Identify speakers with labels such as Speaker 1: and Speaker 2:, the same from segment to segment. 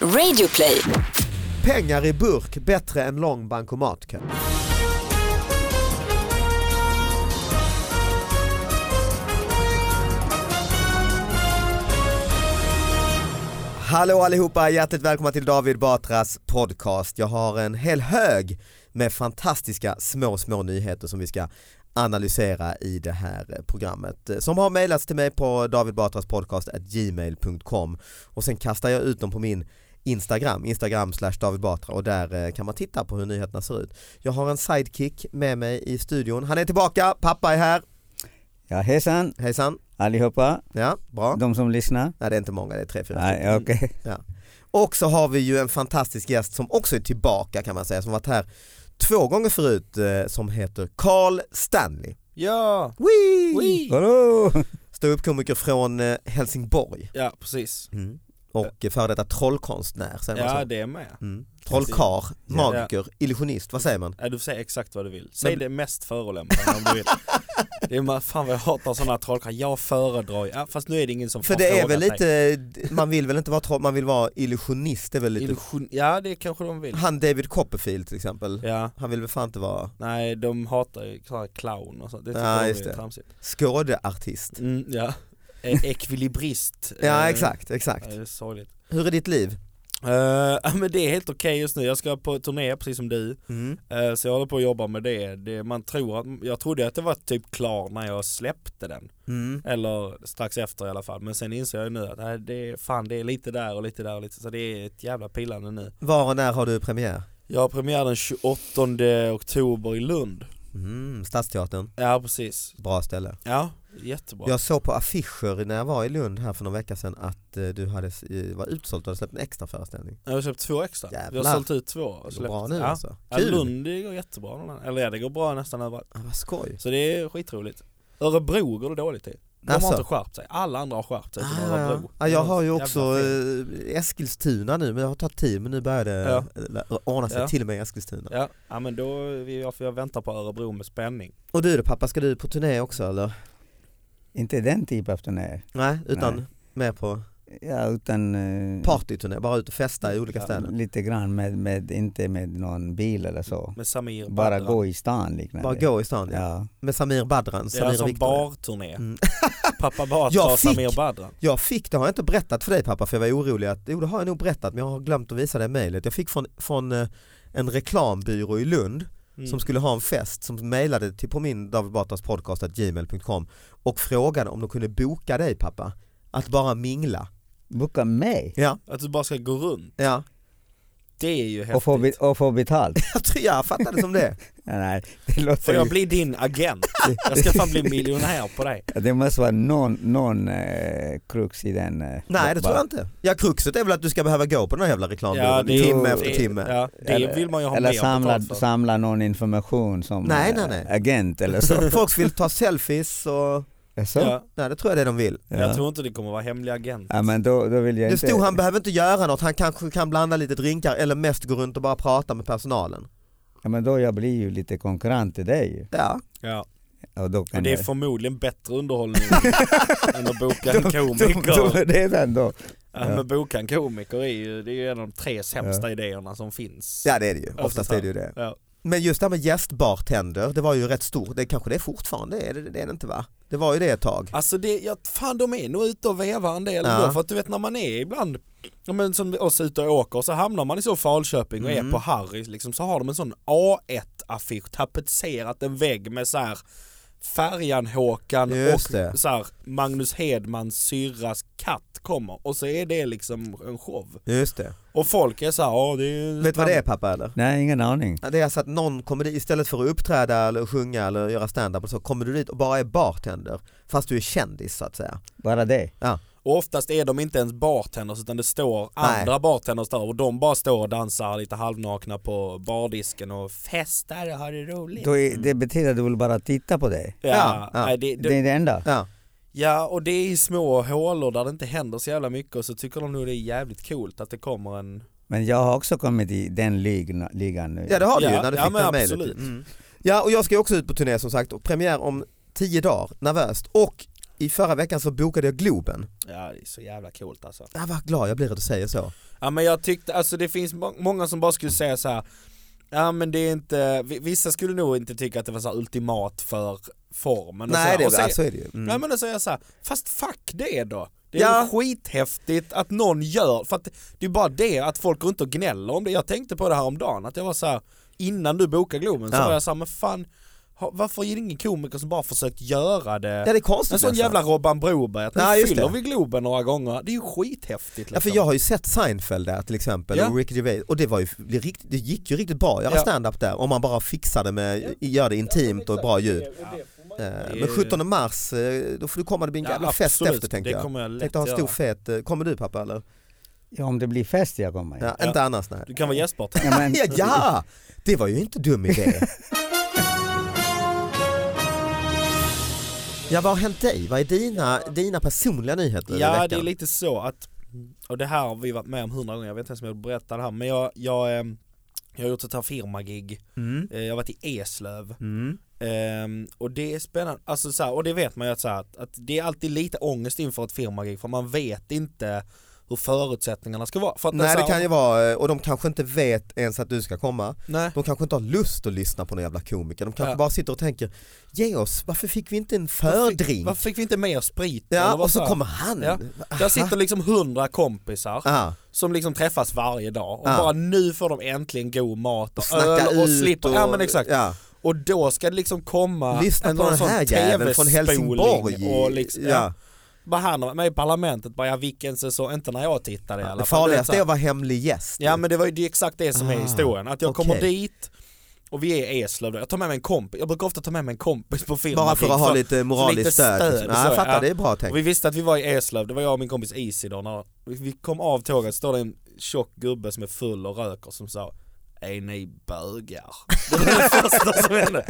Speaker 1: Radioplay.
Speaker 2: Pengar i burk bättre än lång bankomatkö. Hallå allihopa, hjärtligt välkomna till David Batras podcast. Jag har en hel hög med fantastiska små, små nyheter som vi ska analysera i det här programmet eh, som har mejlats till mig på davidbatraspodcast.gmail.com och sen kastar jag ut dem på min Instagram, Instagram slash David Batra och där eh, kan man titta på hur nyheterna ser ut. Jag har en sidekick med mig i studion. Han är tillbaka, pappa är här.
Speaker 3: Ja, hejsan
Speaker 2: Hejsan.
Speaker 3: allihopa,
Speaker 2: Ja, bra.
Speaker 3: de som lyssnar.
Speaker 2: Nej det är inte många, det är tre, fyra.
Speaker 3: Nej, okej.
Speaker 2: Ja. Och så har vi ju en fantastisk gäst som också är tillbaka kan man säga, som varit här två gånger förut eh, som heter Carl Stanley.
Speaker 4: Ja!
Speaker 2: Wee!
Speaker 3: Hallå!
Speaker 2: Ståuppkomiker från eh, Helsingborg
Speaker 4: Ja, precis.
Speaker 2: och eh, före detta trollkonstnär säger man
Speaker 4: Mm. Ja,
Speaker 2: så.
Speaker 4: det är med.
Speaker 2: Mm. Trollkar, magiker, illusionist, vad säger man?
Speaker 4: Ja, du får säga exakt vad du vill. Säg
Speaker 2: Men-
Speaker 4: det mest förolämpande om du vill. Det är ma- fan vad jag hatar sådana trollkarlar. Jag föredrar ju- ja, fast nu är det ingen som
Speaker 2: För
Speaker 4: har
Speaker 2: det är
Speaker 4: frågat
Speaker 2: väl
Speaker 4: mig.
Speaker 2: lite, man vill väl inte vara troll, man vill vara illusionist, det är väl lite
Speaker 4: Illusion, ja det kanske de vill.
Speaker 2: Han David Copperfield till exempel,
Speaker 4: Ja,
Speaker 2: han vill väl fan inte vara
Speaker 4: nej de hatar ju sådana här clown och sånt. Det tycker
Speaker 2: Ja,
Speaker 4: de
Speaker 2: just
Speaker 4: är
Speaker 2: det.
Speaker 4: tramsigt.
Speaker 2: skådeartist.
Speaker 4: Mm, ja. Eh, Ekvilibrist.
Speaker 2: Ja
Speaker 4: Eh,
Speaker 2: exakt, exakt.
Speaker 4: ja, det är sorgligt.
Speaker 2: Hur är ditt liv?
Speaker 4: Eh, ja, men det är helt okej just nu. Jag ska på turné precis som du.
Speaker 2: Mm.
Speaker 4: Eh, Så jag håller på att jobba med det. det man tror att, jag trodde att det var typ klar när jag släppte den.
Speaker 2: Mm.
Speaker 4: Eller strax efter i alla fall. Men sen inser jag nu att nej, det är, fan, det är lite där och lite där och lite så det är ett jävla pillande nu.
Speaker 2: Var och när har du premiär?
Speaker 4: Jag har premiär den 28 oktober i Lund.
Speaker 2: Mm, Stadsteatern,
Speaker 4: Ja precis.
Speaker 2: bra ställe.
Speaker 4: Ja, jättebra.
Speaker 2: Jag såg på affischer när jag var i Lund här för någon vecka sedan att eh, du hade, s- i- var utsåld och hade släppt en extra föreställning.
Speaker 4: Jag har köpt två extra. Vi
Speaker 2: Jävlar.
Speaker 4: har sålt ut två
Speaker 2: Det
Speaker 4: och
Speaker 2: går
Speaker 4: släppt.
Speaker 2: bra nu
Speaker 4: ja.
Speaker 2: alltså.
Speaker 4: Ja, Lund det går jättebra. Eller ja, det går bra nästan överallt.
Speaker 2: Ja, vad skoj.
Speaker 4: Så det är skitroligt. Örebro går det dåligt till. De
Speaker 2: Alltså?
Speaker 4: har inte skärpt sig. Alla andra har skärpt sig. till
Speaker 2: Ah, ja.
Speaker 4: Örebro.
Speaker 2: ja, jag har ju
Speaker 4: Jävla
Speaker 2: också
Speaker 4: fel.
Speaker 2: eh, Eskilstuna nu men det har tagit tid men nu börjar det ja. ordna sig
Speaker 4: Ja.
Speaker 2: till och med i Eskilstuna.
Speaker 4: Ja, ja men då, vi- jag, jag väntar på Örebro med spänning.
Speaker 2: Och du då pappa, ska du på turné också eller?
Speaker 3: Inte den typ av turné.
Speaker 2: Nej, utan
Speaker 3: Nej.
Speaker 2: mer på
Speaker 3: Ja, utan... eh,
Speaker 2: partyturné, bara ut och festa i olika
Speaker 4: Ja,
Speaker 2: städer.
Speaker 3: Lite grann, med, med, inte med någon bil eller så.
Speaker 4: Med Samir
Speaker 3: Bara
Speaker 4: Badran.
Speaker 3: gå i stan liknande.
Speaker 2: Bara gå i stan ja.
Speaker 3: Ja.
Speaker 2: Med Samir Badran,
Speaker 4: Det är
Speaker 2: Samir
Speaker 4: alltså
Speaker 2: och
Speaker 4: en
Speaker 2: Viktor.
Speaker 4: barturné.
Speaker 2: Mm.
Speaker 4: Pappa Batra
Speaker 2: Jag
Speaker 4: och
Speaker 2: fick-
Speaker 4: Samir Badran.
Speaker 2: Jag fick, det har jag inte berättat för dig pappa för jag var orolig att, jo det har jag nog berättat men jag har glömt att visa det mejlet. Jag fick från, från eh, en reklambyrå i Lund
Speaker 4: Mm.
Speaker 2: som skulle ha en fest som mejlade till på min David Batras podcast at gmail.com och frågade om de kunde boka dig pappa. Att bara mingla.
Speaker 3: Boka mig
Speaker 2: Ja,
Speaker 4: Att du bara ska gå runt,
Speaker 2: ja.
Speaker 4: det är ju häftigt.
Speaker 3: och få, be- och få betalt.
Speaker 2: Jag tror jag fattade det som det.
Speaker 3: Nej, nej, det låter
Speaker 4: Får jag
Speaker 3: ju-
Speaker 4: bli din agent? Jag ska fan bli miljonär på dig.
Speaker 3: Det måste vara någon, någon eh, krux i den. Eh,
Speaker 2: Nej det tror jag inte. Ja kruxet är väl att du ska behöva gå på den här jävla reklambyrån
Speaker 4: är ju-
Speaker 2: timme efter
Speaker 4: det-
Speaker 2: timme.
Speaker 4: Ja, det
Speaker 3: Eller-
Speaker 4: vill man ju ha
Speaker 3: Eller
Speaker 4: mer
Speaker 3: samla,
Speaker 4: betalt för.
Speaker 3: samla någon information som
Speaker 2: Nej,
Speaker 3: eh,
Speaker 2: nej, nej.
Speaker 3: agent eller så.
Speaker 2: Folk vill ta selfies och,
Speaker 3: så?
Speaker 4: Ja,
Speaker 2: nej det tror jag det de vill.
Speaker 4: Jag tror inte det kommer vara hemlig agent.
Speaker 3: Ja men då, då vill jag
Speaker 2: Det
Speaker 3: inte...
Speaker 2: stod han behöver inte göra något, han kanske kan blanda lite drinkar eller mest gå runt och bara prata med personalen.
Speaker 3: Ja men då jag blir ju lite konkurrent till dig ju.
Speaker 2: Ja,
Speaker 4: Ja.
Speaker 3: och då
Speaker 4: Och
Speaker 3: kan
Speaker 4: det är
Speaker 3: jag-
Speaker 4: förmodligen bättre underhållning än att boka en
Speaker 3: Då-
Speaker 4: komiker.
Speaker 3: då- det är den då.
Speaker 4: Ja, men boka en komiker är ju, det är ju en av de tre sämsta idéerna som finns.
Speaker 2: ja det är det ju, oftast
Speaker 4: Oftast
Speaker 2: är det ju det.
Speaker 4: Ja.
Speaker 2: Men just det här med gästbartender, det var ju rätt stort, det kanske det är fortfarande, det är det, det är det inte va? Det var ju det ett tag.
Speaker 4: Alltså det, ja, fan de är nog ute och vevar en del
Speaker 2: Ja.
Speaker 4: ändå för att du vet när man är ibland, ja, men som oss ute och åker så hamnar man i så Falköping och
Speaker 2: Mm.
Speaker 4: är på Harrys liksom så har de en sån A1-affisch tapetserat en vägg med så här Färjan-Håkan
Speaker 2: Just
Speaker 4: och
Speaker 2: det.
Speaker 4: så här, Magnus Hedmans syrras katt kommer och så är det liksom en show.
Speaker 2: Just det.
Speaker 4: Och folk är så här, ja det är
Speaker 2: Vet du vad det är pappa eller?
Speaker 3: Nej ingen aning.
Speaker 2: Ja, Det är alltså att någon kommer dit, istället för att uppträda eller sjunga eller göra stand-up och så kommer du dit och bara är bartender fast du är kändis så att säga.
Speaker 3: Bara det.
Speaker 2: Ja.
Speaker 4: Och oftast är de inte ens bartenders utan det står
Speaker 2: Nej.
Speaker 4: andra bartenders där och de bara står och dansar lite halvnakna på bardisken och festar och har det roligt.
Speaker 3: Då är, det betyder att du vill bara titta på det.
Speaker 4: ja,
Speaker 2: Ja, ja.
Speaker 4: nej, Det,
Speaker 3: Det är
Speaker 4: det,
Speaker 3: det enda.
Speaker 2: Ja.
Speaker 4: ja, och det är i små hålor där det inte händer så jävla mycket och så tycker de nog det är jävligt coolt att det kommer en...
Speaker 3: Men jag har också kommit i den ligna, ligan nu.
Speaker 2: ja det har du ju
Speaker 4: Ja,
Speaker 2: när du
Speaker 4: ja,
Speaker 2: fick det
Speaker 4: men
Speaker 2: här mejlet.
Speaker 4: absolut.
Speaker 2: Mm. Ja och jag ska ju också ut på turné som sagt och premiär om tio dagar, nervöst. Och i förra veckan så bokade jag Globen.
Speaker 4: Ja, det är så jävla coolt alltså.
Speaker 2: Jag var glad jag blir att du säger så.
Speaker 4: Ja men jag tyckte, alltså det finns må- många som bara skulle säga så här. Ja men det är inte, vi- vissa skulle nog inte tycka att det var så här ultimat för formen. och så
Speaker 2: Nej,
Speaker 4: här.
Speaker 2: det,
Speaker 4: och så,
Speaker 2: är- så är det ju. Mm.
Speaker 4: Nej men då säger jag så här, fast fuck det då. Det är
Speaker 2: Ja.
Speaker 4: ju skithäftigt att någon gör, för att det är bara det att folk går runt och gnäller om det. Jag tänkte på det här om dagen att jag var så här, innan du bokade Globen så
Speaker 2: Ja.
Speaker 4: var jag så här, men fan, ha- varför är det ingen komiker som bara försökt göra det?
Speaker 2: Ja, det är konstigt
Speaker 4: en sån
Speaker 2: nästan.
Speaker 4: jävla Robban Broberg, att nu
Speaker 2: Ja, just
Speaker 4: fyller
Speaker 2: det.
Speaker 4: vi Globen några gånger, det är ju skithäftigt liksom.
Speaker 2: Ja, för jag har ju sett Seinfeld där till exempel
Speaker 4: Ja.
Speaker 2: och Ricky Gervais och det, var ju, det, rikt, det gick ju riktigt bra att göra
Speaker 4: Ja.
Speaker 2: stand-up där om man bara fixar det med, gör det intimt och bra ljud. Eh, Men 17 mars, eh, då får du komma, det blir en
Speaker 4: Ja,
Speaker 2: jävla fest
Speaker 4: absolut.
Speaker 2: efter tänkte
Speaker 4: det
Speaker 2: jag.
Speaker 4: Kommer jag lätt
Speaker 2: Tänkte ha en stor
Speaker 4: göra.
Speaker 2: fet, eh, kommer du pappa eller?
Speaker 3: Ja, om det blir fest jag kommer.
Speaker 2: Ja,
Speaker 3: Ja.
Speaker 2: Inte annars nej.
Speaker 4: Du kan vara gästsport.
Speaker 3: Ja, men,
Speaker 2: Ja, ja, det var ju inte dum idé. Ja vad har hänt dig? Vad är dina, dina personliga nyheter i
Speaker 4: Ja
Speaker 2: veckan?
Speaker 4: det är lite så att, och det här har vi varit med om hundra gånger, jag vet inte ens om jag berättar det här men jag, jag, ehm, jag har gjort ett här firmagig,
Speaker 2: Mm.
Speaker 4: Eh, jag har varit i Eslöv
Speaker 2: Mm.
Speaker 4: Ehm, och det är spännande, alltså så här, och det vet man ju att, så här, att- att det är alltid lite ångest inför ett firmagig för man vet inte hur förutsättningarna ska vara. För att
Speaker 2: Nej
Speaker 4: så
Speaker 2: det
Speaker 4: här,
Speaker 2: kan ju vara, eh, och de kanske inte vet ens att du ska komma.
Speaker 4: nej.
Speaker 2: De kanske inte har lust att lyssna på någon jävla komiker, de kanske
Speaker 4: Ja.
Speaker 2: bara sitter och tänker Ge oss, varför fick vi inte en fördrink?
Speaker 4: Varför fick vi inte mer sprit? Eller
Speaker 2: Ja,
Speaker 4: vad
Speaker 2: och så
Speaker 4: här?
Speaker 2: kommer han!
Speaker 4: Ja. Där sitter liksom hundra kompisar
Speaker 2: Aha.
Speaker 4: som liksom träffas varje dag och
Speaker 2: Ja.
Speaker 4: bara nu får de äntligen god mat
Speaker 2: Och
Speaker 4: och,
Speaker 2: snacka
Speaker 4: öl och
Speaker 2: ut
Speaker 4: slipper,
Speaker 2: och,
Speaker 4: ja men exakt.
Speaker 2: ja.
Speaker 4: Och då ska det liksom komma
Speaker 2: Lyssna på
Speaker 4: någon
Speaker 2: den
Speaker 4: sån
Speaker 2: här jäveln från
Speaker 4: TV-spoling
Speaker 2: Helsingborg!
Speaker 4: Och liksom, ja.
Speaker 2: ja.
Speaker 4: Bara han var med i parlamentet, bara ja, vilken säsong, inte när jag tittade i alla
Speaker 2: Det
Speaker 4: fall. Du vet
Speaker 2: farligaste
Speaker 4: så
Speaker 2: är
Speaker 4: här.
Speaker 2: att vara hemlig gäst.
Speaker 4: Ja men det var ju det är exakt det som är
Speaker 2: Ah,
Speaker 4: historien, att jag kommer
Speaker 2: okej.
Speaker 4: dit och vi är i Eslöv då. jag tar med mig en kompis, jag brukar ofta ta med mig en kompis på firma
Speaker 2: Bara för att ha lite moraliskt
Speaker 4: lite
Speaker 2: stöd.
Speaker 4: stöd,
Speaker 2: liksom.
Speaker 4: så,
Speaker 2: ja, jag fattar,
Speaker 4: ja.
Speaker 2: det är bra tänkt.
Speaker 4: Och vi visste att vi var i Eslöv, det var jag och min kompis Isi då när vi- vi kom av tåget står det en tjock gubbe som är full och röker som sa Är ni bögar? Det var det första som hände.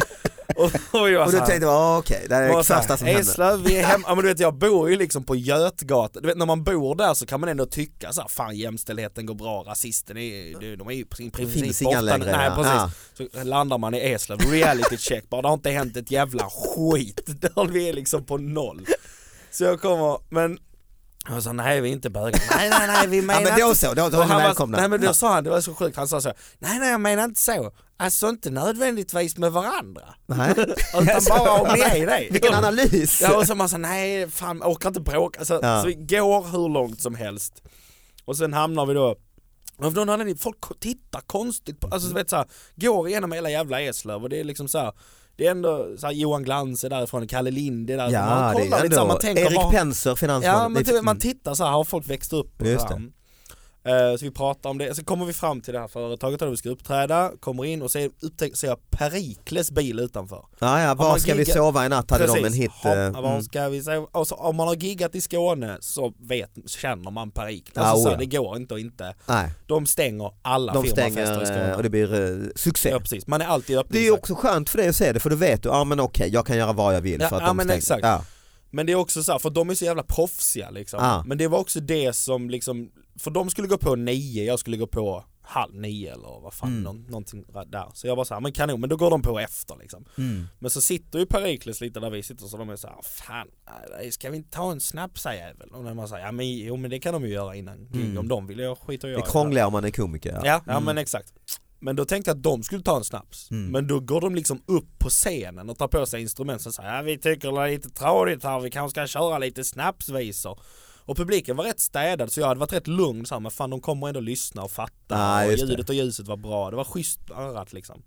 Speaker 4: Och, och
Speaker 2: Och
Speaker 4: jag
Speaker 2: du
Speaker 4: så här-
Speaker 2: tänkte, ah, okej, det här är
Speaker 4: och
Speaker 2: det
Speaker 4: Alltså- så här,
Speaker 2: värsta som händer.
Speaker 4: Eslöv, vi är hemma, ja men du vet jag bor ju liksom på Götgatan, du vet när man bor där så kan man ändå tycka så här, fan jämställdheten går bra, rasisten är, de är ju i princip
Speaker 2: finns
Speaker 4: borta
Speaker 2: inga
Speaker 4: nu."
Speaker 2: längre,
Speaker 4: Nej
Speaker 2: ja.
Speaker 4: precis.
Speaker 2: Ah.
Speaker 4: Så landar man i Eslöv, reality check bara, det har inte hänt ett jävla skit. Där vi är liksom på noll. Så jag kommer, men jag sa nej vi är inte bögar. Nej nej nej vi
Speaker 2: Ja
Speaker 4: menar
Speaker 2: men
Speaker 4: inte
Speaker 2: då så, då, då
Speaker 4: och
Speaker 2: är ni
Speaker 4: han var,
Speaker 2: välkomna.
Speaker 4: nej men då
Speaker 2: Ja.
Speaker 4: sa han, det var så sjukt, han sa så nej nej jag menar inte så, alltså inte nödvändigtvis med varandra.
Speaker 2: Nej.
Speaker 4: Utan bara om ni är det.
Speaker 2: Vilken analys!
Speaker 4: Ja och så man sa nej fan jag orkar inte bråka, alltså,
Speaker 2: Ja.
Speaker 4: så vi går hur långt som helst. Och sen hamnar vi då av någon anledning, folk ko- tittar konstigt på, alltså så vet så här, går igenom hela jävla Eslöv och det är liksom så här, det är ändå så här, Johan Glans är därifrån, Kalle Lind är därifrån,
Speaker 2: Ja, det är
Speaker 4: alltså, lite så här,
Speaker 2: ändå,
Speaker 4: tänker,
Speaker 2: Erik
Speaker 4: vad-
Speaker 2: Penser, finansman.
Speaker 4: Ja men
Speaker 2: Alltså, Det-
Speaker 4: typ, man tittar så här, har folk växt upp? Och
Speaker 2: Just
Speaker 4: så, här. Eh, så vi pratar om det, så kommer vi fram till det här företaget där vi ska uppträda, kommer in och ser, upptäck, ser jag Perikles bil utanför.
Speaker 2: Ja, ja, var
Speaker 4: man
Speaker 2: ska vi
Speaker 4: giggar-
Speaker 2: sova i natt hade de en hit.
Speaker 4: ha,
Speaker 2: eh,
Speaker 4: var
Speaker 2: mm.
Speaker 4: ska vi säga? Alltså, om man har giggat i Skåne så vet, känner man Perikles,
Speaker 2: Ah, oh Ja,
Speaker 4: alltså, så här,
Speaker 2: oja.
Speaker 4: det går inte och inte.
Speaker 2: Nej,
Speaker 4: De stänger alla
Speaker 2: de
Speaker 4: firmafester i Skåne.
Speaker 2: stänger eh, och det blir eh, succé.
Speaker 4: ja, precis. Man är alltid
Speaker 2: Det är
Speaker 4: öppningsvakt.
Speaker 2: ju också skönt för dig att se det för då vet du, ja ah, men okej jag kan göra vad jag vill
Speaker 4: Ja,
Speaker 2: för att
Speaker 4: ja,
Speaker 2: de
Speaker 4: men
Speaker 2: stänger.
Speaker 4: exakt.
Speaker 2: Ja.
Speaker 4: Men det är också så här, för de är så jävla proffsiga liksom.
Speaker 2: Ah.
Speaker 4: Men det var också det som liksom, för de skulle gå på nio, jag skulle gå på halv nio eller vad fan,
Speaker 2: Mm.
Speaker 4: någon, någonting där. Så jag var så här, men kanon, men då går de på efter liksom.
Speaker 2: Mm.
Speaker 4: Men så sitter ju Perikles lite där vi sitter så de är så här, fan, nej, ska vi inte ta en snapsajävel? Och när man säger, ja men jo men det kan de ju göra innan gig
Speaker 2: Mm.
Speaker 4: om de vill, jag skiter i
Speaker 2: Det är krångligare om man är komiker.
Speaker 4: Ja, ja men exakt. Men då tänkte jag att de skulle ta en snaps.
Speaker 2: Mm.
Speaker 4: Men då går de liksom upp på scenen och tar på sig instrument som säger ja, vi tycker det är lite tråkigt här, vi kanske ska köra lite snapsvisor. Och publiken var rätt städad så jag hade varit rätt lugn så här, men fan de kommer ändå lyssna och fatta.
Speaker 2: Ja,
Speaker 4: och
Speaker 2: just det.
Speaker 4: ljudet och ljuset var bra, det var schysst örat liksom.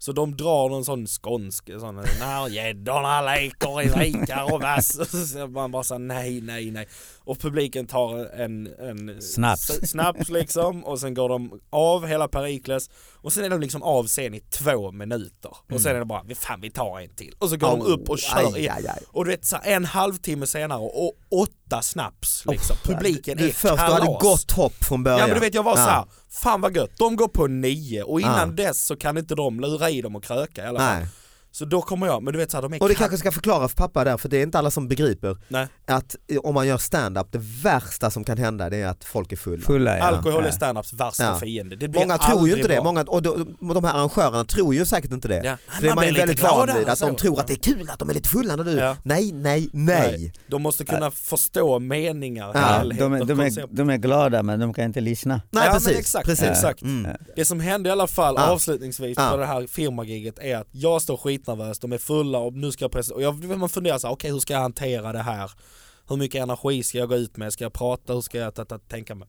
Speaker 4: Så de drar någon sån skånsk, sån när gäddorna leker i vikar och vass. Och så man bara såhär nej, nej, nej. Och publiken tar en, en
Speaker 3: Snaps.
Speaker 4: s- snaps liksom och sen går de av hela Perikles och sen är de liksom av scen i två minuter. Och sen är det bara, "Vi- fan vi tar en till. Och så går de upp och kör
Speaker 2: Mm. aj,
Speaker 4: igen.
Speaker 2: aj, aj.
Speaker 4: Och du vet så här, en halvtimme senare och åtta snaps liksom. Publiken
Speaker 2: Oh, du
Speaker 4: är
Speaker 2: först, du hade
Speaker 4: kalas.
Speaker 2: gott hopp från början.
Speaker 4: Ja men du vet jag var
Speaker 2: Ja.
Speaker 4: såhär, fan vad gött, de går på nio och innan
Speaker 2: Ja.
Speaker 4: dess så kan inte de lura i dem och kröka i alla fall.
Speaker 2: Nej.
Speaker 4: Så då kommer jag, men du vet såhär de är
Speaker 2: Och det
Speaker 4: kall-
Speaker 2: kanske ska förklara för pappa där, för det är inte alla som begriper
Speaker 4: Nej,
Speaker 2: att eh, om man gör stand-up, det värsta som kan hända det är att folk är fulla.
Speaker 3: Fulla ja.
Speaker 4: alkohol är
Speaker 3: ja.
Speaker 4: standups värsta
Speaker 2: Ja.
Speaker 4: fiende. Det blir
Speaker 2: Många tror ju
Speaker 4: aldrig
Speaker 2: inte det,
Speaker 4: bra.
Speaker 2: många, och de, de här arrangörerna tror ju säkert inte det.
Speaker 4: Ja.
Speaker 2: För det är man
Speaker 4: blir
Speaker 2: ju
Speaker 4: lite
Speaker 2: väldigt van
Speaker 4: gladare
Speaker 2: vid, att de
Speaker 4: så.
Speaker 2: tror att det är kul att de är lite fulla när du,
Speaker 4: Ja.
Speaker 2: nej, nej, nej.
Speaker 4: De måste kunna förstå meningar,
Speaker 2: Ja,
Speaker 3: Ja,
Speaker 4: helheter,
Speaker 3: de, är, de,
Speaker 4: koncept.
Speaker 3: är, de är glada men de kan inte lyssna.
Speaker 2: Nej,
Speaker 4: Ja, men
Speaker 2: precis.
Speaker 4: exakt,
Speaker 2: precis.
Speaker 4: exakt.
Speaker 2: Mm.
Speaker 4: Det som hände i alla fall
Speaker 2: Ja.
Speaker 4: avslutningsvis
Speaker 2: Ja.
Speaker 4: på det här firmagiget är att jag står skitnervös, de är fulla och nu ska jag pressa, och jag, man funderar såhär, okej hur ska jag hantera det här? Hur mycket energi ska jag gå ut med? Ska jag prata? Hur ska jag ta, ta, tänka mig?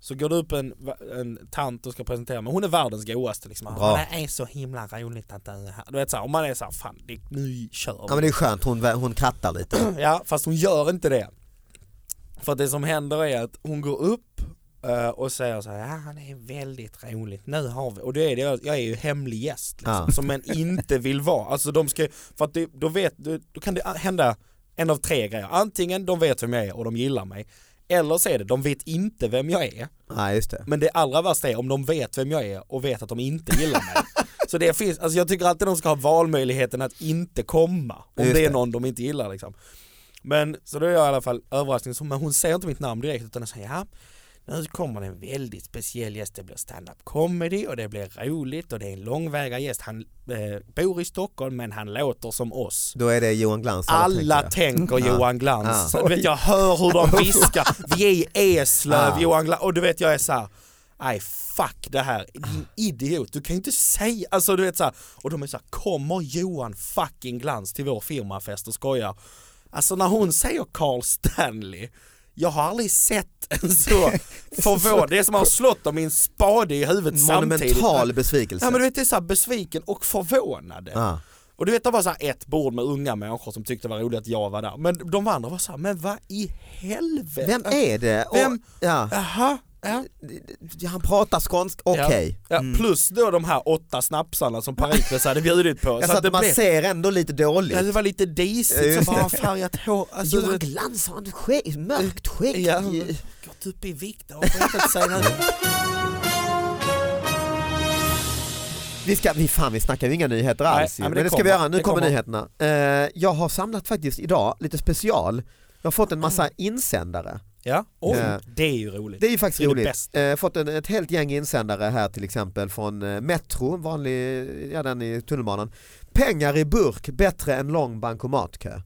Speaker 4: Så går det upp en, en tant och ska presentera mig, hon är världens godaste liksom.
Speaker 2: Bra.
Speaker 4: Det är så himla roligt att du är här. Du vet såhär, och man är såhär, fan det, nu kör
Speaker 2: Ja men det är skönt, hon, hon krattar lite.
Speaker 4: Ja, fast hon gör inte det. För att det som händer är att hon går upp eh, och säger så här, ja det är väldigt roligt, nu har vi, och det är det, jag är ju hemlig gäst liksom,
Speaker 2: Ja.
Speaker 4: som man inte vill vara. Alltså de ska, för att det, då vet, då, då kan det hända en av tre grejer. Antingen de vet vem jag är och de gillar mig, eller så är det, de vet inte vem jag är,
Speaker 2: Nej just det.
Speaker 4: men det allra värsta är om de vet vem jag är och vet att de inte gillar mig. Så det finns, alltså jag tycker alltid de ska ha valmöjligheten att inte komma om
Speaker 2: Just
Speaker 4: det är
Speaker 2: det.
Speaker 4: någon de inte gillar liksom. Men så då är jag i alla fall överraskning, Så- men hon säger inte mitt namn direkt utan hon säger ja, nu kommer det en väldigt speciell gäst, det blir stand-up comedy och det blir roligt och det är en långväga gäst, han eh, bor i Stockholm men han låter som oss.
Speaker 2: Då är det Johan Glans.
Speaker 4: Alla
Speaker 2: tänker
Speaker 4: tänker Johan Glans.
Speaker 2: Ja.
Speaker 4: Du vet, jag hör hur de viskar. Vi är i Eslöv,
Speaker 2: Ja.
Speaker 4: Johan Glans. Och du vet, jag är så här. Nej fuck det här, din idiot, du kan ju inte säga, alltså du vet så här. och de är så här, kommer Johan fucking Glans till vår firmafest och skojar? Alltså när hon säger Carl Stanley, jag har aldrig sett en så förvånad, det är som att ha slått dem i en spade i huvudet
Speaker 2: jag.
Speaker 4: samtidigt.
Speaker 2: Monumental besvikelse.
Speaker 4: Ja men du vet det är så här besviken och förvånade.
Speaker 2: Ja.
Speaker 4: Och du vet det var så här ett bord med unga människor som tyckte det var roligt att jag var där. Men de andra var så här, men vad i helvete?
Speaker 2: Vem är det? Och,
Speaker 4: Vem-
Speaker 2: Ja.
Speaker 4: Jaha, ja.
Speaker 2: Han pratar skånsk, okej.
Speaker 4: ja. Plus då de här åtta snapsarna som Parikles hade bjudit på.
Speaker 2: Alltså
Speaker 4: att det
Speaker 2: att man
Speaker 4: blev-
Speaker 2: ser ändå lite dåligt.
Speaker 4: Ja, det var lite
Speaker 2: Ja,
Speaker 4: disigt
Speaker 2: just
Speaker 4: som bara färgat hår. Alltså, du
Speaker 2: Johan
Speaker 4: vet,
Speaker 2: Glans har en skägg, mörkt skägg.
Speaker 4: ja, gått upp i vikt och skitit sig nu.
Speaker 2: Vi, ska, vi, fan, vi snackar ju inga nyheter
Speaker 4: Nej,
Speaker 2: alls ju.
Speaker 4: nej,
Speaker 2: men, det,
Speaker 4: men det
Speaker 2: ska vi
Speaker 4: kommer,
Speaker 2: göra, nu
Speaker 4: det
Speaker 2: kommer,
Speaker 4: kommer.
Speaker 2: nyheterna. Eh, jag har samlat faktiskt idag lite special. Jag har fått en
Speaker 4: Mm.
Speaker 2: massa insändare.
Speaker 4: Ja, oj,
Speaker 2: Ja.
Speaker 4: det är ju roligt.
Speaker 2: Det är ju faktiskt
Speaker 4: Det är det
Speaker 2: roligt.
Speaker 4: bästa.
Speaker 2: Eh, fått en, ett helt gäng insändare här till exempel från eh, Metro, en vanlig, ja den i tunnelbanan. Pengar i burk bättre än lång bankomatkö.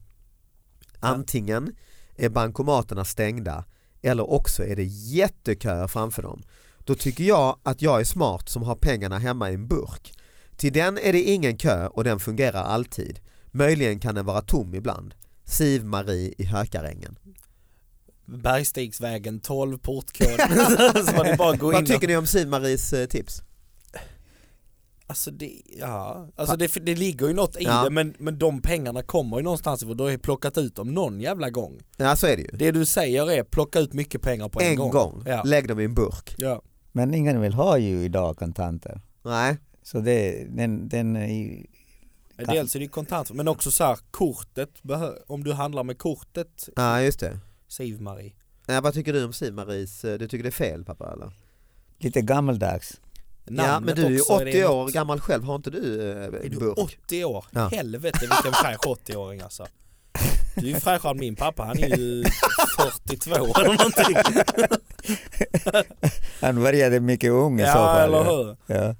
Speaker 2: Antingen är bankomaterna stängda eller också är det jätteköer framför dem. Då tycker jag att jag är smart som har pengarna hemma i en burk. Till den är det ingen kö och den fungerar alltid. Möjligen kan den vara tom ibland. Siv-Marie i Hökarängen.
Speaker 4: Bergstigsvägen 12 portkod. så var det bara att gå in
Speaker 2: Vad
Speaker 4: och-
Speaker 2: tycker ni om Siv-Maries eh, tips?
Speaker 4: Alltså det, ja, alltså det, det ligger ju något i
Speaker 2: Ja.
Speaker 4: det men, men de pengarna kommer ju någonstans ifrån, du har ju plockat ut dem någon jävla gång.
Speaker 2: Ja så är det ju.
Speaker 4: Det du säger är plocka ut mycket pengar på en,
Speaker 2: en gång.
Speaker 4: Ja.
Speaker 2: Lägg dem i en burk.
Speaker 4: Ja.
Speaker 3: Men ingen vill ha ju idag kontanter.
Speaker 2: Nej.
Speaker 3: Så det, den, den är ju... Kan-
Speaker 4: Dels är det ju kontant, men också så här, kortet, behö- om du handlar med kortet,
Speaker 2: Ja just det.
Speaker 4: Siv-Marie.
Speaker 2: Ja, vad tycker du om Siv-Maries, eh, du tycker det är fel pappa eller?
Speaker 3: lite gammaldags.
Speaker 2: ja men
Speaker 4: Namnet
Speaker 2: du är ju
Speaker 4: också,
Speaker 2: 80
Speaker 4: det
Speaker 2: år
Speaker 4: något-
Speaker 2: gammal själv, har inte du eh,
Speaker 4: Är
Speaker 2: en
Speaker 4: du
Speaker 2: burk?
Speaker 4: 80 år?
Speaker 2: Ja.
Speaker 4: Helvete vilken fräsch 80-åring alltså. Du är ju fräschare än min pappa, han är ju 42 eller någonting.
Speaker 3: Han började mycket ung i så
Speaker 4: Ja
Speaker 3: fall.
Speaker 4: eller
Speaker 3: ja.
Speaker 4: hur?
Speaker 3: Ja.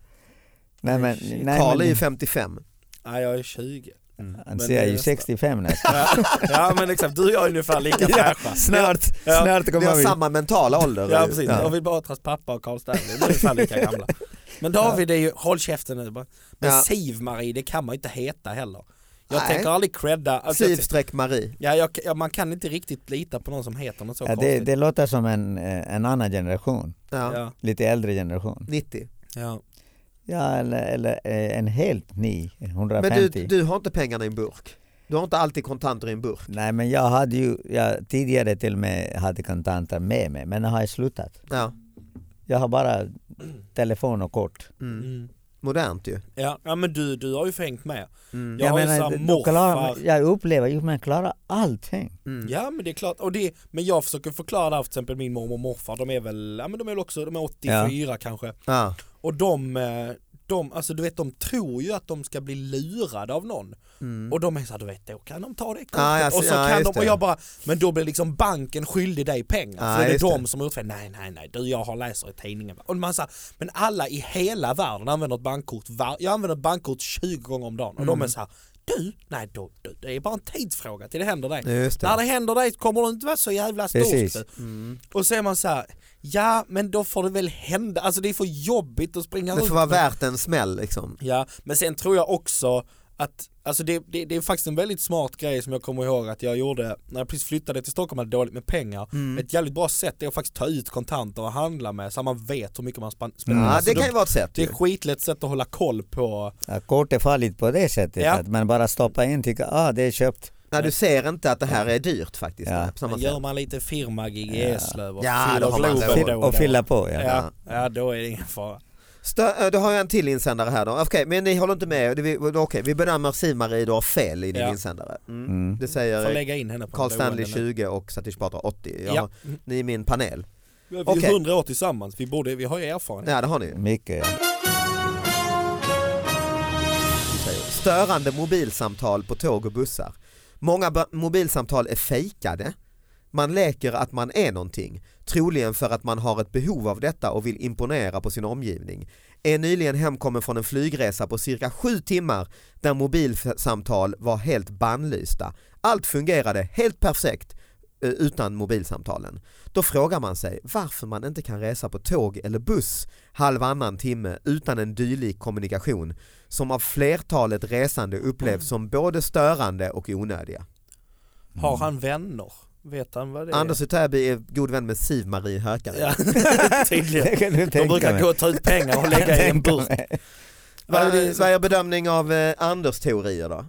Speaker 3: Nej men... Nej,
Speaker 2: Karl är ju
Speaker 3: men
Speaker 2: 55.
Speaker 4: Nej jag är 20.
Speaker 2: Mm.
Speaker 3: han
Speaker 4: men
Speaker 3: ser
Speaker 4: det är
Speaker 3: ju
Speaker 4: nästa.
Speaker 3: 65 nästan.
Speaker 4: Ja, ja men exakt, du och jag är ungefär lika
Speaker 3: Ja,
Speaker 4: fräscha.
Speaker 3: snart,
Speaker 4: Ja.
Speaker 3: snart
Speaker 2: Vi
Speaker 3: kommer
Speaker 2: har
Speaker 3: vi.
Speaker 2: samma mentala ålder.
Speaker 4: Ja precis, jag vill bara Batras pappa och Carl Stanley, de är ungefär lika gamla. Men David är ju, håll käften nu bara. Men
Speaker 2: Ja.
Speaker 4: Siv-Marie, det kan man ju inte heta heller. Jag
Speaker 2: Nej.
Speaker 4: tänker aldrig credda, alltså, jag-
Speaker 2: Siv-Marie.
Speaker 4: ja, jag, ja, man kan inte riktigt lita på någon som heter något så
Speaker 3: Ja, det,
Speaker 4: konstigt.
Speaker 3: det låter som en, eh, en annan generation.
Speaker 2: Ja.
Speaker 4: Ja.
Speaker 3: Lite äldre generation.
Speaker 2: 90.
Speaker 4: Ja.
Speaker 3: Ja, eller, eller eh, en helt ny. 150.
Speaker 2: Men du, du har inte pengarna i en burk? Du har inte alltid kontanter i en burk?
Speaker 3: Nej men jag hade ju, jag tidigare till och med hade kontanter med mig men nu har jag slutat.
Speaker 2: Ja.
Speaker 3: Jag har bara telefon och kort.
Speaker 2: Mm.
Speaker 4: Mm.
Speaker 2: Modernt ju.
Speaker 4: Ja. ja men du, du har ju fängt med.
Speaker 2: Mm.
Speaker 4: Jag, har ju såhär
Speaker 3: du klarar,
Speaker 4: morfar.
Speaker 3: jag upplever ju man klarar allting.
Speaker 2: Mm.
Speaker 4: Ja men det är klart, och det, men jag försöker förklara det här för till exempel min mormor och morfar, de är väl, ja men de är väl också, de är 84 kanske.
Speaker 2: Ja.
Speaker 4: Och de, eh, de, alltså du vet de tror ju att de ska bli lurade av någon. Och de är såhär, du vet då kan de ta det kortet.
Speaker 2: Mm. Ah, Ja, jag ser-
Speaker 4: och så
Speaker 2: ja,
Speaker 4: kan
Speaker 2: just
Speaker 4: de, och
Speaker 2: det.
Speaker 4: jag bara, men då blir liksom banken skyldig dig pengar.
Speaker 2: Ja,
Speaker 4: för det är
Speaker 2: just
Speaker 4: de
Speaker 2: det.
Speaker 4: som har gjort fel. Nej, nej, nej, du jag har läser i tidningen. Och man säger, men alla i hela världen använder ett bankkort, var, jag använder ett bankkort 20 gånger om dagen. Och
Speaker 2: Mm.
Speaker 4: de är såhär, du, nej då, du, det är bara en tidsfråga till det händer dig.
Speaker 2: Just det.
Speaker 4: När det händer dig kommer du inte vara så jävla
Speaker 3: Precis.
Speaker 4: storsk du.
Speaker 2: Mm.
Speaker 4: Och så är man så här, ja men då får det väl hända, alltså det är för jobbigt att springa
Speaker 2: Det
Speaker 4: runt
Speaker 2: får vara
Speaker 4: med-
Speaker 2: värt en smäll liksom.
Speaker 4: Ja, men sen tror jag också att Alltså det, det, det är faktiskt en väldigt smart grej som jag kommer ihåg att jag gjorde när jag precis flyttade till Stockholm och hade dåligt med pengar.
Speaker 2: Mm.
Speaker 4: Ett jävligt bra sätt är att faktiskt ta ut kontanter och handla med så att man vet hur mycket man span- spenderar.
Speaker 2: Ja,
Speaker 4: Så
Speaker 2: det
Speaker 4: Alltså, då-
Speaker 2: kan ju vara ett sätt.
Speaker 4: det är
Speaker 2: ju.
Speaker 4: ett skitlätt sätt att hålla koll på.
Speaker 3: Ja, kort är farligt på det sättet.
Speaker 4: Ja.
Speaker 3: Att man bara stoppar in och tycker ah, det är köpt.
Speaker 2: Nej, du ser inte att det här är dyrt faktiskt.
Speaker 3: Ja.
Speaker 2: nej, På samma
Speaker 4: eh, Gör
Speaker 2: sätt.
Speaker 4: man lite firmagig i
Speaker 3: Ja.
Speaker 4: Eslöv och
Speaker 2: Ja, då har man
Speaker 4: Globen
Speaker 2: råd.
Speaker 4: då
Speaker 3: Och
Speaker 4: då.
Speaker 3: fylla på. Ja.
Speaker 4: Ja, ja, då är det ingen fara.
Speaker 2: Stö- eh, då har jag en till insändare här då. Okej, men ni håller inte med. Det- vi- Okej, vi bedömer Siv-Marie du har fel i din
Speaker 4: Ja.
Speaker 2: insändare. Mm.
Speaker 3: Mm.
Speaker 2: Det
Speaker 4: Får
Speaker 2: säger
Speaker 4: lägga in henne på
Speaker 2: Carl
Speaker 4: boenden
Speaker 2: Stanley
Speaker 4: nu.
Speaker 2: 20 och Satish Batra 80. Jag
Speaker 4: Ja. Mm.
Speaker 2: har, ni är min panel.
Speaker 4: Vi är
Speaker 2: Okej.
Speaker 4: 100 år tillsammans, vi, borde, vi har ju erfarenhet.
Speaker 2: Ja, det har ni ju.
Speaker 3: Mycket ja.
Speaker 2: Störande mobilsamtal på tåg och bussar. Många ba- mobilsamtal är fejkade. Man leker att man är någonting, troligen för att man har ett behov av detta och vill imponera på sin omgivning. Är nyligen hemkommen från en flygresa på cirka sju timmar där mobilsamtal var helt bannlysta. Allt fungerade helt perfekt eh, utan mobilsamtalen. Då frågar man sig varför man inte kan resa på tåg eller buss halvannan timme utan en dylik kommunikation som av flertalet resande upplevs som både störande och onödiga.
Speaker 4: Har han vänner? Vet han vad det är?
Speaker 2: Mm. Anders Utäby är god vän med Siv-Marie Hökare.
Speaker 4: Ja, tydligen.
Speaker 3: Det kan du
Speaker 4: De
Speaker 3: tänka
Speaker 4: brukar
Speaker 3: mig.
Speaker 4: gå och ta ut pengar och lägga i en bur.
Speaker 2: Vad, är, vad är er bedömning av eh, Anders teorier då?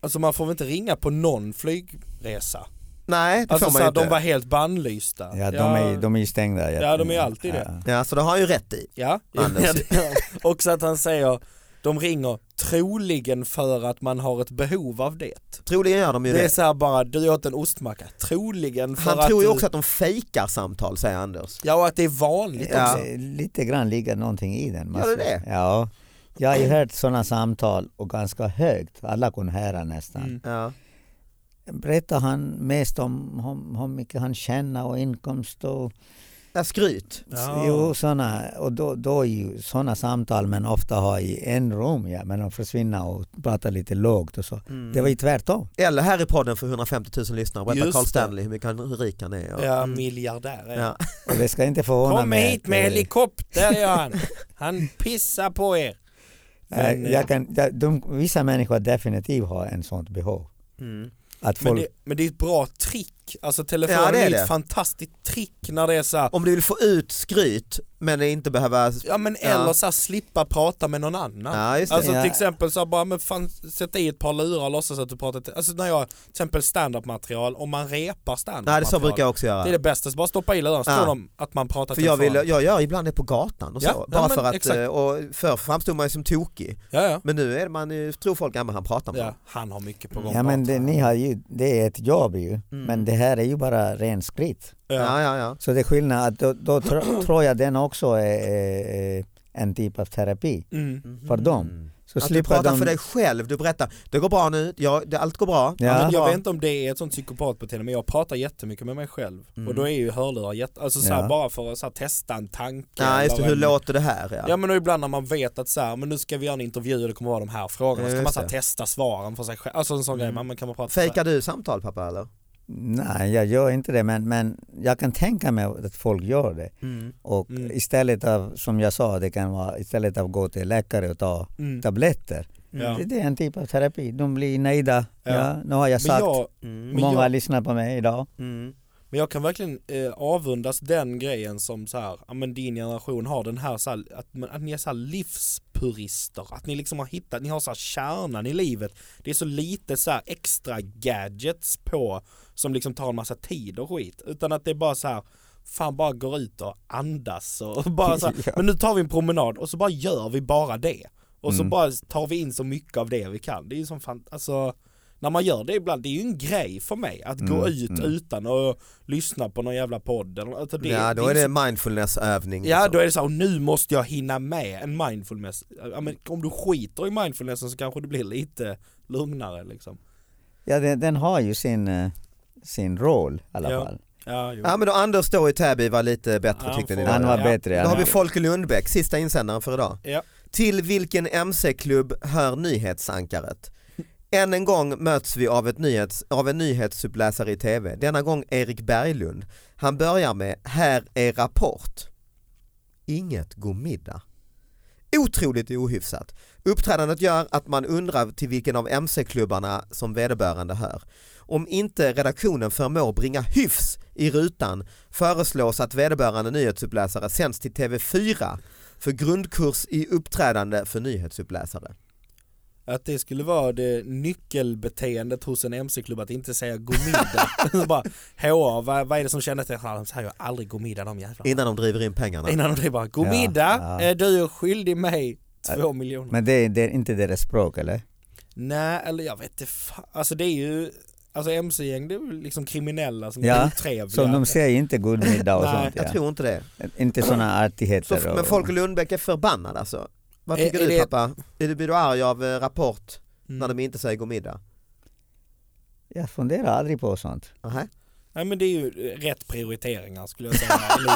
Speaker 4: Alltså man får väl inte ringa på någon flygresa?
Speaker 2: Nej, det
Speaker 4: Alltså
Speaker 2: får
Speaker 4: så
Speaker 2: man ju
Speaker 4: här,
Speaker 2: inte.
Speaker 4: de var helt bannlysta.
Speaker 3: Ja, de är, de är ju stängda.
Speaker 4: Ja, de är ju alltid det.
Speaker 2: Ja, så det har han ju rätt i.
Speaker 4: ja. ja.
Speaker 2: Anders.
Speaker 4: Också att han säger, de ringer troligen för att man har ett behov av det.
Speaker 2: Troligen gör de ju
Speaker 4: Det är
Speaker 2: det.
Speaker 4: så här bara, du åt en ostmacka, troligen för
Speaker 2: Han
Speaker 4: att
Speaker 2: tror ju
Speaker 4: du-
Speaker 2: också att de fejkar samtal, säger Anders.
Speaker 4: Ja och att det är vanligt
Speaker 2: Ja.
Speaker 4: också.
Speaker 3: Det- Lite grann ligger någonting i den.
Speaker 2: Gör det det?
Speaker 3: Ja. Jag har ju hört sådana samtal och ganska högt. Alla kunde höra nästan.
Speaker 4: Mm.
Speaker 2: Ja.
Speaker 3: Berättar han mest om om- hur mycket han tjänar och inkomst och
Speaker 2: Ja, skryt.
Speaker 4: Ja.
Speaker 3: Jo, såna, och då, då är ju sådana samtal man ofta har i en rum, ja, men de försvinner och pratar lite lågt och så.
Speaker 2: Mm.
Speaker 3: Det var ju tvärtom.
Speaker 2: Eller här i podden för 150 000 lyssnare, berätta
Speaker 4: Just
Speaker 2: Carl
Speaker 4: det.
Speaker 2: Stanley hur mycket han, hur rik han är. Och,
Speaker 4: Ja, miljardär är
Speaker 2: Mm. ja.
Speaker 3: Och det ska inte förvåna
Speaker 4: Kom
Speaker 3: mig.
Speaker 4: hit
Speaker 3: att,
Speaker 4: med
Speaker 3: eh,
Speaker 4: helikopter gör han. Han pissar på er. Men,
Speaker 3: eh, jag kan, jag, de, vissa människor definitivt har en sånt behov.
Speaker 2: Mm.
Speaker 3: Att
Speaker 4: Men
Speaker 3: folk,
Speaker 4: det, men det är ett bra trick. Alltså telefonen
Speaker 2: Ja, det är
Speaker 4: är,
Speaker 2: det.
Speaker 4: ett fantastiskt trick när det är så här,
Speaker 2: Om du vill få ut skryt men inte behöva...
Speaker 4: ja men
Speaker 2: Ja.
Speaker 4: eller så här, slippa prata med någon annan.
Speaker 2: Ja, just det.
Speaker 4: Alltså
Speaker 3: Ja.
Speaker 4: till exempel så här, bara, men fan, sätta i ett par lurar och låtsas att du pratar, till, alltså när jag, till exempel stand-up material, om man repar stand-up
Speaker 2: Nej, det så
Speaker 4: material,
Speaker 2: brukar jag också göra.
Speaker 4: det är det bästa, så bara stoppa i lurarna, så
Speaker 2: Ja.
Speaker 4: tror de att man pratar
Speaker 2: För jag, vill,
Speaker 4: telefonen.
Speaker 2: jag gör ibland det på gatan och så.
Speaker 4: Ja, ja,
Speaker 2: bara
Speaker 4: men
Speaker 2: för att,
Speaker 4: exakt.
Speaker 2: eh, och förr framstod man ju som tokig.
Speaker 4: Ja, ja.
Speaker 2: Men nu är man ju, tror folk, ja men han pratar med
Speaker 4: ja,
Speaker 2: ja.
Speaker 4: han har mycket på gång.
Speaker 3: ja, men det,
Speaker 4: bara.
Speaker 3: ni har ju, det är ett jobb ju,
Speaker 2: Mm.
Speaker 3: men det här är ju bara ren skryt.
Speaker 4: Mm. ja.
Speaker 2: Ja, ja, ja.
Speaker 3: Så det är skillnad, att då, då tr- tror jag den också är, är, är en typ av terapi
Speaker 4: Mm.
Speaker 3: för dem. Så
Speaker 2: Att du
Speaker 3: slipper
Speaker 2: pratar
Speaker 3: de-
Speaker 2: för dig själv, du berättar, det går bra nu, ja, det, allt går bra.
Speaker 3: Ja.
Speaker 2: Allt
Speaker 4: Men
Speaker 2: är
Speaker 4: Alltså, jag
Speaker 2: bra.
Speaker 4: vet inte om det är ett sånt psykopatbeteende men jag pratar jättemycket med mig själv och då är ju hörlurar jätte, alltså så här,
Speaker 3: Mm. Ja.
Speaker 4: bara för att så här, testa en tanke.
Speaker 2: Ja, just det,
Speaker 4: eller
Speaker 2: hur
Speaker 4: en-
Speaker 2: låter det här? Ja.
Speaker 4: Ja men och ibland när man vet att så här, men nu ska vi göra en intervju och det kommer vara de här frågorna, så
Speaker 2: Just
Speaker 4: kan man så här,
Speaker 2: det.
Speaker 4: testa svaren för sig själv, alltså en sån
Speaker 3: Mm.
Speaker 4: grej, man man kan bara prata så här.
Speaker 2: Fejkar du samtal pappa eller?
Speaker 3: Nej, jag gör inte det, men, men jag kan tänka mig att folk gör det. Och
Speaker 4: Mm.
Speaker 3: istället av, som jag sa, det kan vara istället av att gå till läkare och ta
Speaker 4: Mm.
Speaker 3: tabletter.
Speaker 4: Ja.
Speaker 3: Det, det är en typ av terapi. De blir nöjda.
Speaker 4: Ja.
Speaker 3: Ja. nu har jag
Speaker 4: Men
Speaker 3: sagt,
Speaker 4: jag, men
Speaker 3: många
Speaker 4: jag- Mm.
Speaker 3: lyssnar på mig idag.
Speaker 4: men jag kan verkligen eh, avundas den grejen som så här, ja men din generation har den här, så här att, men att ni är så här livspurister, att ni liksom har hittat, ni har så här kärnan i livet. Det är så lite så här extra gadgets på som liksom tar en massa tid och skit, utan att det är bara så här Fan bara går ut och andas och bara så här,
Speaker 3: Ja.
Speaker 4: men nu tar vi en promenad och så bara gör vi bara det. Och så bara tar vi in så mycket av det vi kan. Det är ju som fan, alltså när man gör det ibland, det är ju en grej för mig att gå
Speaker 3: Mm,
Speaker 4: ut
Speaker 3: mm.
Speaker 4: utan att lyssna på någon jävla podd. eller- Alltså det,
Speaker 2: ja, då
Speaker 4: det
Speaker 2: är
Speaker 4: så-
Speaker 2: det mindfulnessövning.
Speaker 4: Ja
Speaker 2: liksom.
Speaker 4: då är det så här, och nu måste jag hinna med en mindfulness. Ja, men om du skiter i mindfulnessen så kanske det blir lite lugnare liksom.
Speaker 3: Ja, den, den har ju sin, eh, sin roll i alla
Speaker 4: Ja.
Speaker 3: fall.
Speaker 4: Ja, jo.
Speaker 2: ja men då Anders då i Täby var lite bättre
Speaker 4: Ja,
Speaker 2: tyckte ni
Speaker 4: får-
Speaker 2: då?
Speaker 3: Han var
Speaker 4: Ja.
Speaker 3: bättre.
Speaker 2: Då
Speaker 3: Han
Speaker 2: har vi
Speaker 3: var.
Speaker 2: Folke Lundbäck, sista insändaren för idag.
Speaker 4: Ja.
Speaker 2: Till vilken MC-klubb hör nyhetsankaret? Än en gång möts vi av, ett nyhets, av en nyhetsuppläsare i TV, denna gång Erik Berglund. Han börjar med “Här är Rapport”. Inget god middag. Otroligt ohyfsat. Uppträdandet gör att man undrar till vilken av MC-klubbarna som vederbörande hör. Om inte redaktionen förmår bringa hyfs i rutan föreslås att vederbörande nyhetsuppläsare sänds till TV4 för grundkurs i uppträdande för nyhetsuppläsare.
Speaker 4: Att det skulle vara det nyckelbeteendet hos en MC-klubb att inte säga god middag. bara, HR, vad, vad är det som kännetecknar? De säger ju aldrig god middag de jävlarna.
Speaker 2: Innan de driver in pengarna.
Speaker 4: Innan de bara, god
Speaker 3: Ja,
Speaker 4: middag,
Speaker 3: ja.
Speaker 4: eh, du är skyldig mig två miljoner.
Speaker 3: Men det, det är inte deras språk eller?
Speaker 4: Nej, eller jag vet inte fan. Alltså det är ju, alltså MC-gäng det är väl liksom kriminella som är
Speaker 3: Ja,
Speaker 4: otrevliga.
Speaker 3: Så de säger inte god middag och
Speaker 4: Nej,
Speaker 3: sånt.
Speaker 2: Jag
Speaker 3: Ja.
Speaker 2: tror inte det.
Speaker 3: Inte sådana
Speaker 2: Så,
Speaker 3: artigheter.
Speaker 2: men
Speaker 3: och-
Speaker 2: Folke Lundbäck är förbannad alltså. Vad
Speaker 4: Är-
Speaker 2: tycker
Speaker 4: är
Speaker 2: du
Speaker 4: det-
Speaker 2: pappa? Är du, blir du arg av eh, Rapport
Speaker 4: Mm.
Speaker 2: när de inte säger god middag?
Speaker 3: Jag funderar aldrig på sånt.
Speaker 2: Nähä.
Speaker 4: Nej men det är ju rätt prioriteringar skulle jag säga.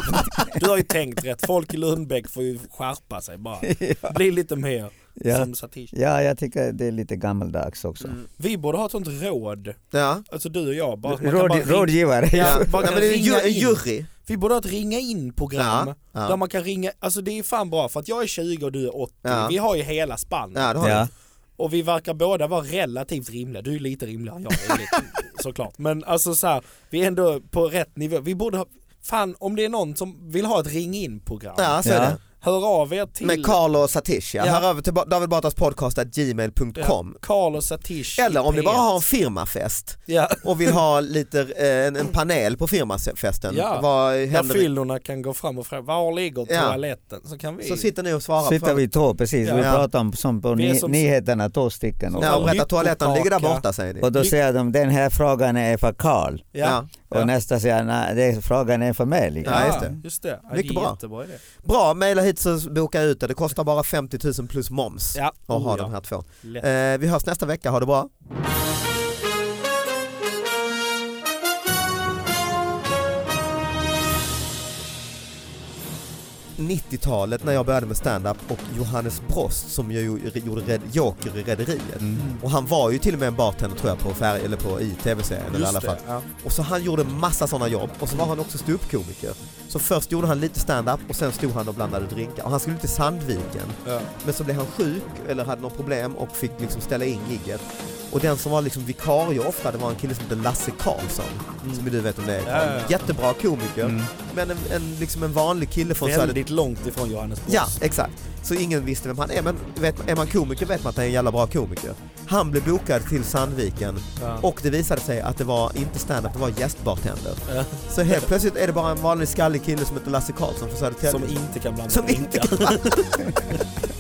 Speaker 4: du har ju tänkt rätt. Folk i Lundbäck får ju skärpa sig bara. Bli lite mer
Speaker 3: Ja.
Speaker 4: som Satish.
Speaker 3: ja, jag tycker det är lite gammaldags också.
Speaker 2: Mm.
Speaker 4: Vi borde ha ett sånt råd.
Speaker 2: Ja.
Speaker 4: Alltså du och jag. Bara, man kan
Speaker 3: Råd,
Speaker 4: bara ringa,
Speaker 3: rådgivare.
Speaker 2: Ja.
Speaker 4: bara
Speaker 2: Nej, men det är en
Speaker 4: ringa
Speaker 2: ju- en
Speaker 4: in.
Speaker 2: jury.
Speaker 4: vi borde ha ett ringa in program.
Speaker 2: Ja,
Speaker 4: Där
Speaker 2: ja.
Speaker 4: man kan ringa, alltså det är fan bra för att jag är 20 och du är 80.
Speaker 2: Ja.
Speaker 4: Vi har ju hela spannet.
Speaker 2: ja, det har
Speaker 3: Ja.
Speaker 2: du.
Speaker 4: Och vi verkar båda vara relativt rimliga. Du är lite rimligare än jag är lite, såklart. Men alltså så här, vi är ändå på rätt nivå. Vi borde ha, fan om det är någon som vill ha ett ring in program.
Speaker 2: Ja, så
Speaker 3: Ja.
Speaker 2: är det.
Speaker 4: Hör av er till
Speaker 2: Med Carl och Satish ja.
Speaker 4: Ja.
Speaker 2: Hör över till ba- David Batras podcast at gmail.com.
Speaker 4: Carl och Satish.
Speaker 2: Eller om
Speaker 4: i
Speaker 2: ni bara
Speaker 4: P1.
Speaker 2: har en firmafest
Speaker 4: Ja,
Speaker 2: och vill ha lite, eh, en, en panel på firmafesten.
Speaker 4: Ja.
Speaker 2: Vad
Speaker 4: där
Speaker 2: händer i-
Speaker 4: fyllorna kan gå fram och fråga var ligger
Speaker 2: Ja.
Speaker 4: toaletten? Så kan vi...
Speaker 2: Så sitter ni och svarar på
Speaker 3: Sitter vi två, precis. Vi
Speaker 2: Ja.
Speaker 3: pratar om som på
Speaker 4: Vi är
Speaker 3: ni,
Speaker 4: som-
Speaker 3: nyheterna, två stycken. Och,
Speaker 2: Ja, och berätta
Speaker 4: Lyckokaka.
Speaker 2: toaletten ligger där borta säger ni.
Speaker 3: och då säger de den här frågan är för Karl.
Speaker 4: ja.
Speaker 3: Och
Speaker 4: Ja.
Speaker 3: nästa säger nej, det, frågan är för mig. Liksom.
Speaker 2: Ja, just det.
Speaker 4: Just det. Ja,
Speaker 2: Mycket
Speaker 4: det är
Speaker 2: bra.
Speaker 4: Jättebra idé.
Speaker 2: Bra, mejla hit så bokar jag ut det. Det kostar bara 50 000 plus moms
Speaker 4: Ja.
Speaker 2: att ha
Speaker 4: Oh,
Speaker 2: de
Speaker 4: ja.
Speaker 2: här två.
Speaker 4: Lätt.
Speaker 2: Eh, vi hörs nästa vecka, ha det bra. ...90-talet när jag började med stand-up och Johannes Brost som ju gjorde red, Joker i Rederiet.
Speaker 4: Mm.
Speaker 2: Och han var ju till och med en bartender tror jag på färg, eller på, i tv-serien eller i
Speaker 4: Just
Speaker 2: alla fall.
Speaker 4: det. Ja.
Speaker 2: Och så han gjorde massa sådana jobb och så var han också ståuppkomiker. Så först gjorde han lite stand-up och sen stod han och blandade drinkar. Och han skulle till Sandviken
Speaker 4: Ja.
Speaker 2: men så blev han sjuk eller hade något problem och fick liksom ställa in gigget. Och den som var liksom vikarie ofta det var en kille som hette Lasse Karlsson. Som du vet om det är.
Speaker 4: Mm. Ja, ja, ja.
Speaker 2: Jättebra komiker
Speaker 4: Mm.
Speaker 2: men en, en, liksom en vanlig kille från Söder.
Speaker 4: Väldigt långt ifrån Johannes Brost.
Speaker 2: Ja, exakt. Så ingen visste vem han är men vet, är man komiker vet man att han är en jävla bra komiker. Han blev bokad till Sandviken
Speaker 4: Ja.
Speaker 2: och det visade sig att det var inte stand-up, det var gästbartender. Så helt plötsligt är det bara en vanlig skallig kille som heter Lasse Karlsson från Södertälje.
Speaker 4: Som inte kan blanda
Speaker 2: Som
Speaker 4: drinkar.
Speaker 2: inte kan